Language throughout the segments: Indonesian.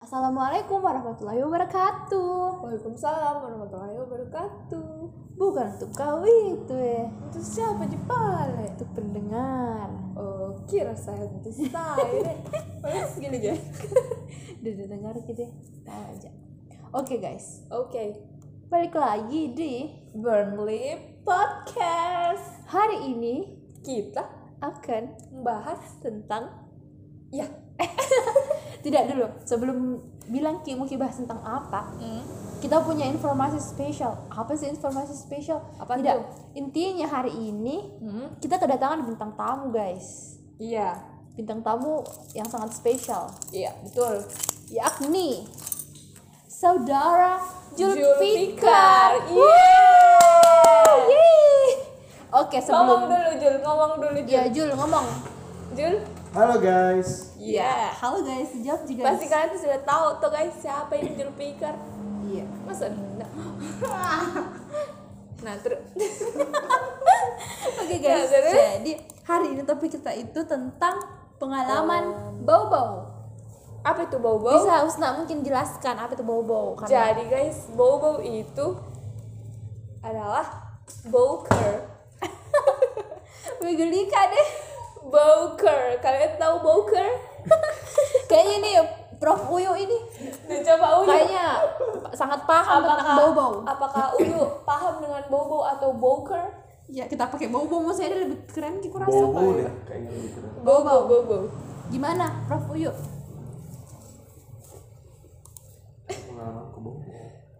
Assalamualaikum warahmatullahi wabarakatuh. Waalaikumsalam warahmatullahi wabarakatuh. Bukan untuk kau itu ya, Itu siapa Jepale? untuk pendengar. Oh, kira saya itu saya. Paling segini guys. Udah dengar gitu ya, tahu aja. Oke guys, Oke, balik lagi di Burnley Podcast. hari ini Kita akan membahas tentang ya. tidak dulu sebelum bilang ki mau bahas tentang apa Hmm. kita punya informasi spesial apa sih informasi spesial Apa tidak tuh? intinya hari ini Hmm? kita kedatangan bintang tamu guys Iya, bintang tamu yang sangat spesial iya betul. yakni saudara Julfikar. iya. Julfikar. Yeay. Yeay. Oke, Iya. Ngomong sebelum dulu Jul, ngomong dulu Jul. ya Jul ngomong. Jul. Halo guys, Iya. Halo guys, jawab juga. Pasti kalian tuh sudah tahu tuh guys siapa ini Jul Pikar. Iya. Masa enggak? nah, terus Oke guys. Ya, terus? jadi hari ini topik kita itu tentang pengalaman bau-bau. apa itu bau-bau? Bisa Usna mungkin jelaskan apa itu bau-bau karena Jadi guys, bobo itu adalah boker. Megulika deh. Boker. Kalian tahu boker? Kayaknya ini Prof Uyu ini Nah, coba Uyu. kayaknya sangat paham tentang Apakah bau-bau. Apakah Uyu paham dengan bobo atau boker? Ya kita pakai bau-bau maksudnya lebih keren kita rasa. Bobo deh kayaknya lebih keren. Bobo, bobo. Gimana, Prof Uyu? Pengalamanku Bobo.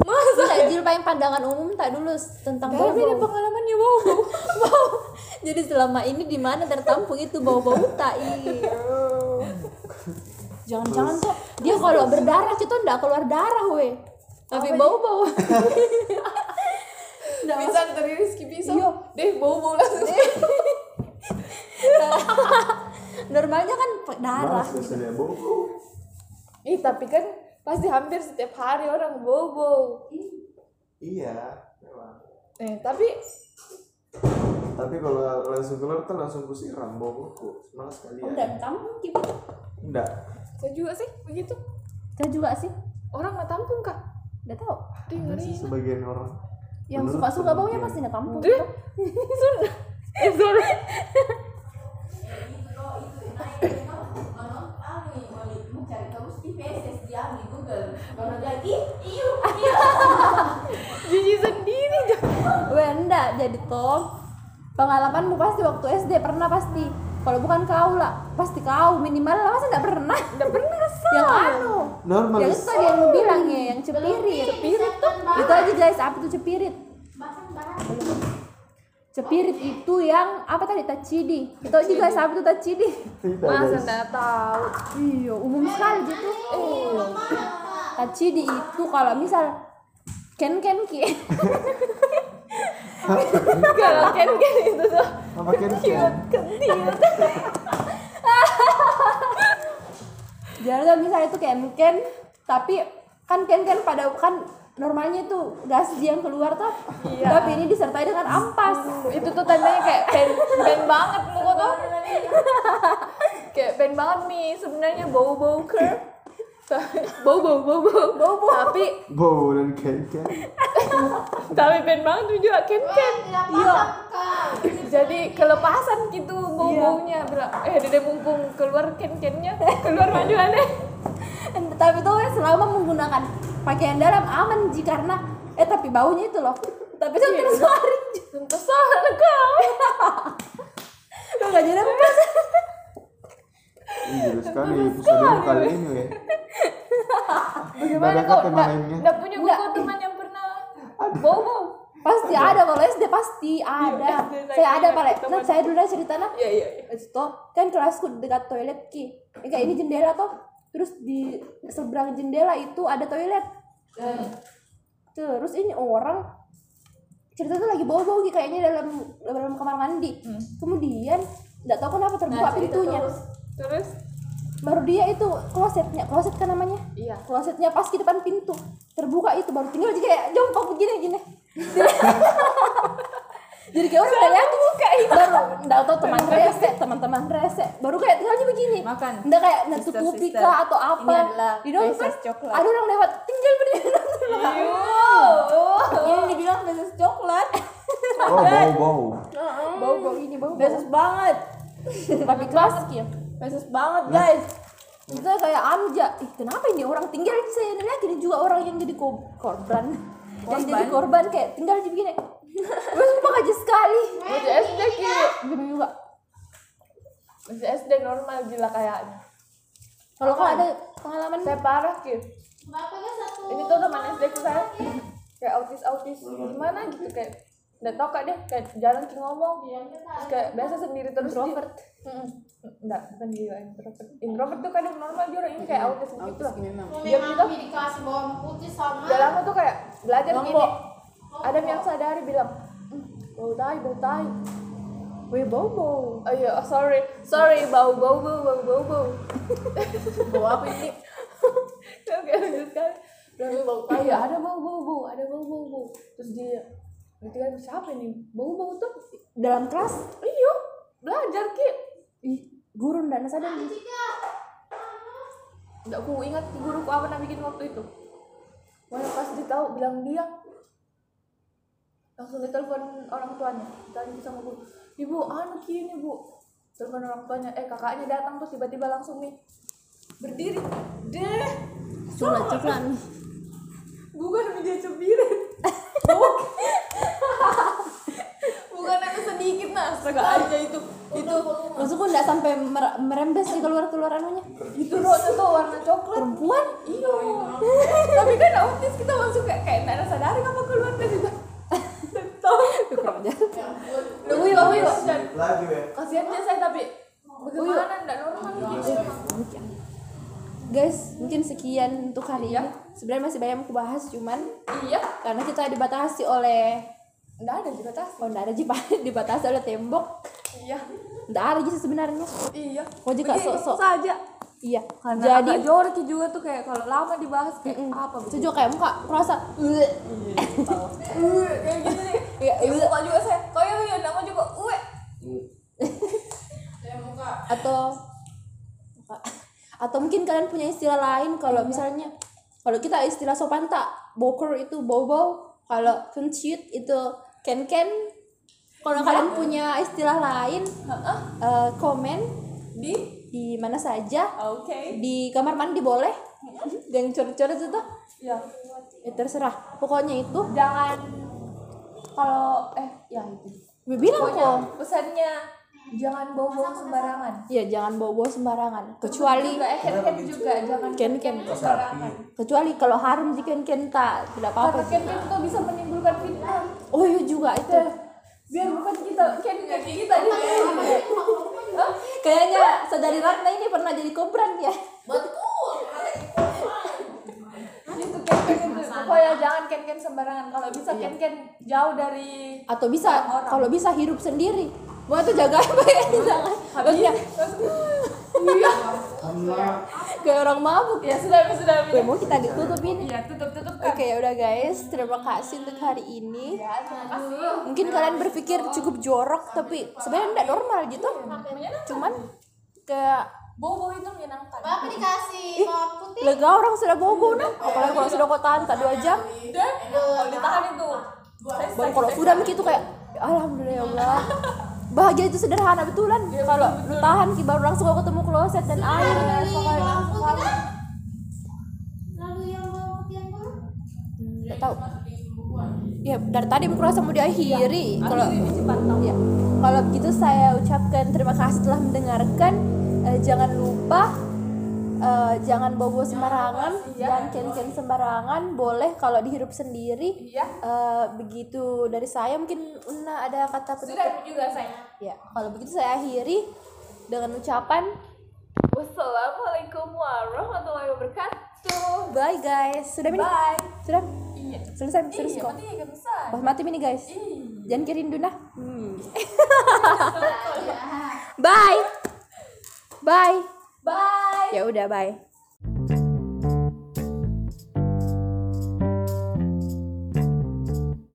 Masa Tidak, Jil Iya, paling pandangan umum tak dulu tentang Gak ada bau-bau. pengalamannya bobo. Bau. Jadi selama ini di mana tertampung itu bau-bau tak iya. Jangan-jangan tuh dia kalau berdarah itu enggak keluar darah we. Tapi Apa bau-bau. Nggak bisa dari Rizky bisa. Iya. Deh, bobo langsung. Normalnya kan pe- darah. Bahas biasanya Bobo. Ih, tapi kan pasti hampir setiap hari orang bobo. Iya, memang. Eh, tapi Tapi kalau langsung keluar tuh langsung kusiram Boboku. Malas sekali Oh, ya. nggak tampung gitu. Enggak. saya juga sih begitu. Saya juga sih. Orang nggak tampung kah? Enggak tahu. Deh, Ada ngeri. sih sebagian orang. Yang Menurut suka-suka baunya penelitian. pasti enggak tampung. Deh, sudah. Eh, sudah. mencari terus di PSS diam di Google kalau jadi iu Jiji sendiri. Weh enggak jadi Tom Pengalamanmu pasti waktu SD pernah pasti Kalau bukan kau lah Pasti kau minimal lah masa enggak pernah Enggak pernah Yang anu Normal. Yang itu tadi yang lu bilang ya Yang cepirit Cepirit tuh? Itu aja guys apa tuh cepirit bahkan barang Cepirit itu yang apa tadi tacidi Itu aja guys apa tuh tacidi Tidak Masa guys. nggak tahu. Iya umum sekali gitu iya, eh. Tacidi itu kalau misal Ken ken ki Kalau kan kan itu tuh Apa kan? Iya. kentiut. Jangan misalnya itu ken ken Tapi kan ken ken pada kan normalnya itu gas dia yang keluar tuh Iya. tapi ini disertai dengan ampas Itu tuh tandanya kayak pen pen banget muka tuh. Kayak pen banget nih sebenarnya bau bau ker. bau bau bau bau bau bau tapi Bobo dan Ken Ken. tapi pen banget tuh juga ken ken tidak iya paham kau jadi kelepasan gitu bau baunya eh dede mumpung keluar ken kennya keluar maju aneh tapi tuh weh, selama menggunakan pakaian dalam aman ji karena eh tapi baunya itu loh tapi tuh Iya, terus iya. lari Ji. tentu salah kau Lo gak jadi ampas Ini jelas sekali episode kali ini ya. Bagaimana Nggak ada kok kata nggak mainnya. nggak punya Nggak. kok teman yang pernah bobo? pasti ada kalau SD pasti ada Iya, saya ada saya pale ingat kan teman. saya dulu ada cerita nah Iya iya. iya. itu toh, kan kelasku dekat toilet ki Eh, kayak ini jendela toh terus di seberang jendela itu ada toilet terus ini orang cerita tuh lagi bau bau kayaknya dalam dalam kamar mandi kemudian nggak tahu kenapa terbuka pintunya Nah, Terus? baru dia itu klosetnya kloset kan namanya Iya. klosetnya pas di depan pintu terbuka itu baru tinggal aja kayak jongkok begini gini oh, jadi kayak orang udah yakin buka baru nggak tahu teman saya teman teman-teman rese baru kayak tinggalnya begini Makan. nggak kayak nutupi Sister-sister. kah atau apa Ini adalah di dalam kan Reese's coklat. ada orang lewat tinggal berdiri Ini dibilang beses coklat. Oh, bau bau. bau bau ini bau bau Beses banget. Iya. tapi kelas gitu Beses banget guys. kita kayak amja ih kenapa ini orang tinggal saya lihat ini juga orang yang jadi ko- korban yang jadi Korban? korban kayak tinggal di begini gue sumpah aja sekali Masih SD Ki. gitu juga Masih SD normal gila kayak. kalau kau ada pengalaman Saya parah Ki. Bapaknya satu. Ini tuh teman SD ku saya kayak autis-autis gimana gitu kayak nggak tau kak deh kayak jarang Ki ngomong terus kayak biasa sendiri terus introvert enggak bukan dia introvert introvert tuh kadang normal juga ini kayak autis gitu lah Dia bilang di kelas bawang putih sama. udah lama tuh kayak belajar gini ada yang sadari bilang "Hmm, bau tai bau tai gue bau bau oh iya oh, sorry sorry bau bau bau bau bau bau bau apa ini oke lanjut sekali Lalu bau tai "Iya, ada bau bau bau ada bau bau bau terus dia nanti kan siapa ini bau bau tuh dalam kelas iya belajar ki ih gurun dan sadar nih nggak ku ingat guruku apa gitu. pernah bikin waktu itu mana pas dia tahu bilang dia langsung ditelepon orang tuanya tanya sama guru ibu anu ki ini bu telepon orang tuanya eh kakaknya datang terus tiba-tiba langsung nih berdiri deh coklat coklat nih bukan meja cebirin bukan aku sedikit nah astaga aja itu itu maksudku nggak sampai mer- merembes di keluar keluar anunya itu rosa tuh warna coklat perempuan Iya. Tapi kan autis kita masuk kayak kayak nggak ada sadar apa keluar dari situ. Tahu. kurang ajar Lugu yuk, lugu yuk. Lagi ya. Kasiannya oh, iya. saya tapi bagaimana nggak normal gitu. guys mungkin sekian untuk hari ini sebenarnya masih banyak yang aku bahas cuman Iya. karena kita dibatasi oleh Nggak ada juga tas. oh nggak ada sih, Pak. dibatasi oleh tembok Iya. nggak ada sih sebenarnya Iya. Kok juga Begitu sok-sok. saja. iya Karena jadi agak jorok juga tuh kayak kalau lama dibahas kayak Mm-mm. apa begitu. sejuk kayak muka perasa Uh, kayak gitu nih. Iya, Kayak muka juga saya. Kau yang yang nama juga uwe. Saya muka. atau muka. atau mungkin kalian punya istilah lain kalau Iya. misalnya kalau kita istilah sopan tak boker itu bobo kalau kencit itu ken ken kalau Iya. kalian punya istilah lain Heeh. eh, komen Di. di mana saja Oke. di kamar mandi boleh yang coret-coret itu tuh, Iya. ya terserah pokoknya itu Jangan kalau eh ya itu. gue bilang Pokoknya kok pesannya jangan bawa-bawa sembarangan. ya jangan bawa-bawa sembarangan kecuali juga eh ken juga jangan Ken-ken. sembarangan. kecuali kalau harum di ken ken tak tidak apa-apa Karena ken ken tuh bisa menimbulkan fitnah. oh iya juga itu Biar bukan kita ken gitu, ken kita Iya. di kayaknya saudari Ratna ini pernah jadi kobran ya Betul. itu ken ken itu. Pokoknya jangan ken ken sembarangan. Kalau bisa ken ken jauh dari atau bisa Orang-orang. kalau bisa hidup sendiri Wah itu jaga baik jangan maksudnya Iya. kayak orang mabuk ya sudah sudah. gue mau kita ditutup ini Ya tutup tutup oke udah guys terima kasih untuk hari ini Ya terima kasih. mungkin kalian berpikir cukup jorok tapi sebenarnya tidak normal gitu cuman kayak Bobo itu menyenangkan. Bapak dikasih bawang putih. lega orang sudah bobo nah apalagi kalau sudah kau tahan tak dua jam Dan kalau ditahan itu. saya baru sakit. kalau udah begitu kayak alhamdulillah ya Allah bahagia itu sederhana betulan kalau lu tahan ki baru langsung kau ketemu kloset dan air Beli pokoknya bawang putih kan? Lalu yang bawang putih yang dulu. nggak tahu ya dari tadi mau kerasa mau Ya, diakhiri kalau Akhirnya di Cipatong. ya kalau begitu saya ucapkan terima kasih telah mendengarkan Eh, jangan lupa eh, jangan bawa sembarangan iya. jangan ken-ken sembarangan boleh kalau dihirup sendiri Iya. Eh, begitu dari saya mungkin Una ada kata penutup Sudah juga saya. Ya, kalau begitu saya akhiri dengan ucapan Wassalamualaikum warahmatullahi wabarakatuh. bye guys. Sudah ini? Bye. Sudah? Iya. Selesai, Terus serius iya, kok. penting gak bisa. Pas mati ini guys. Iya. Jangan kirim duna. bye. Bye. Bye. Ya udah bye.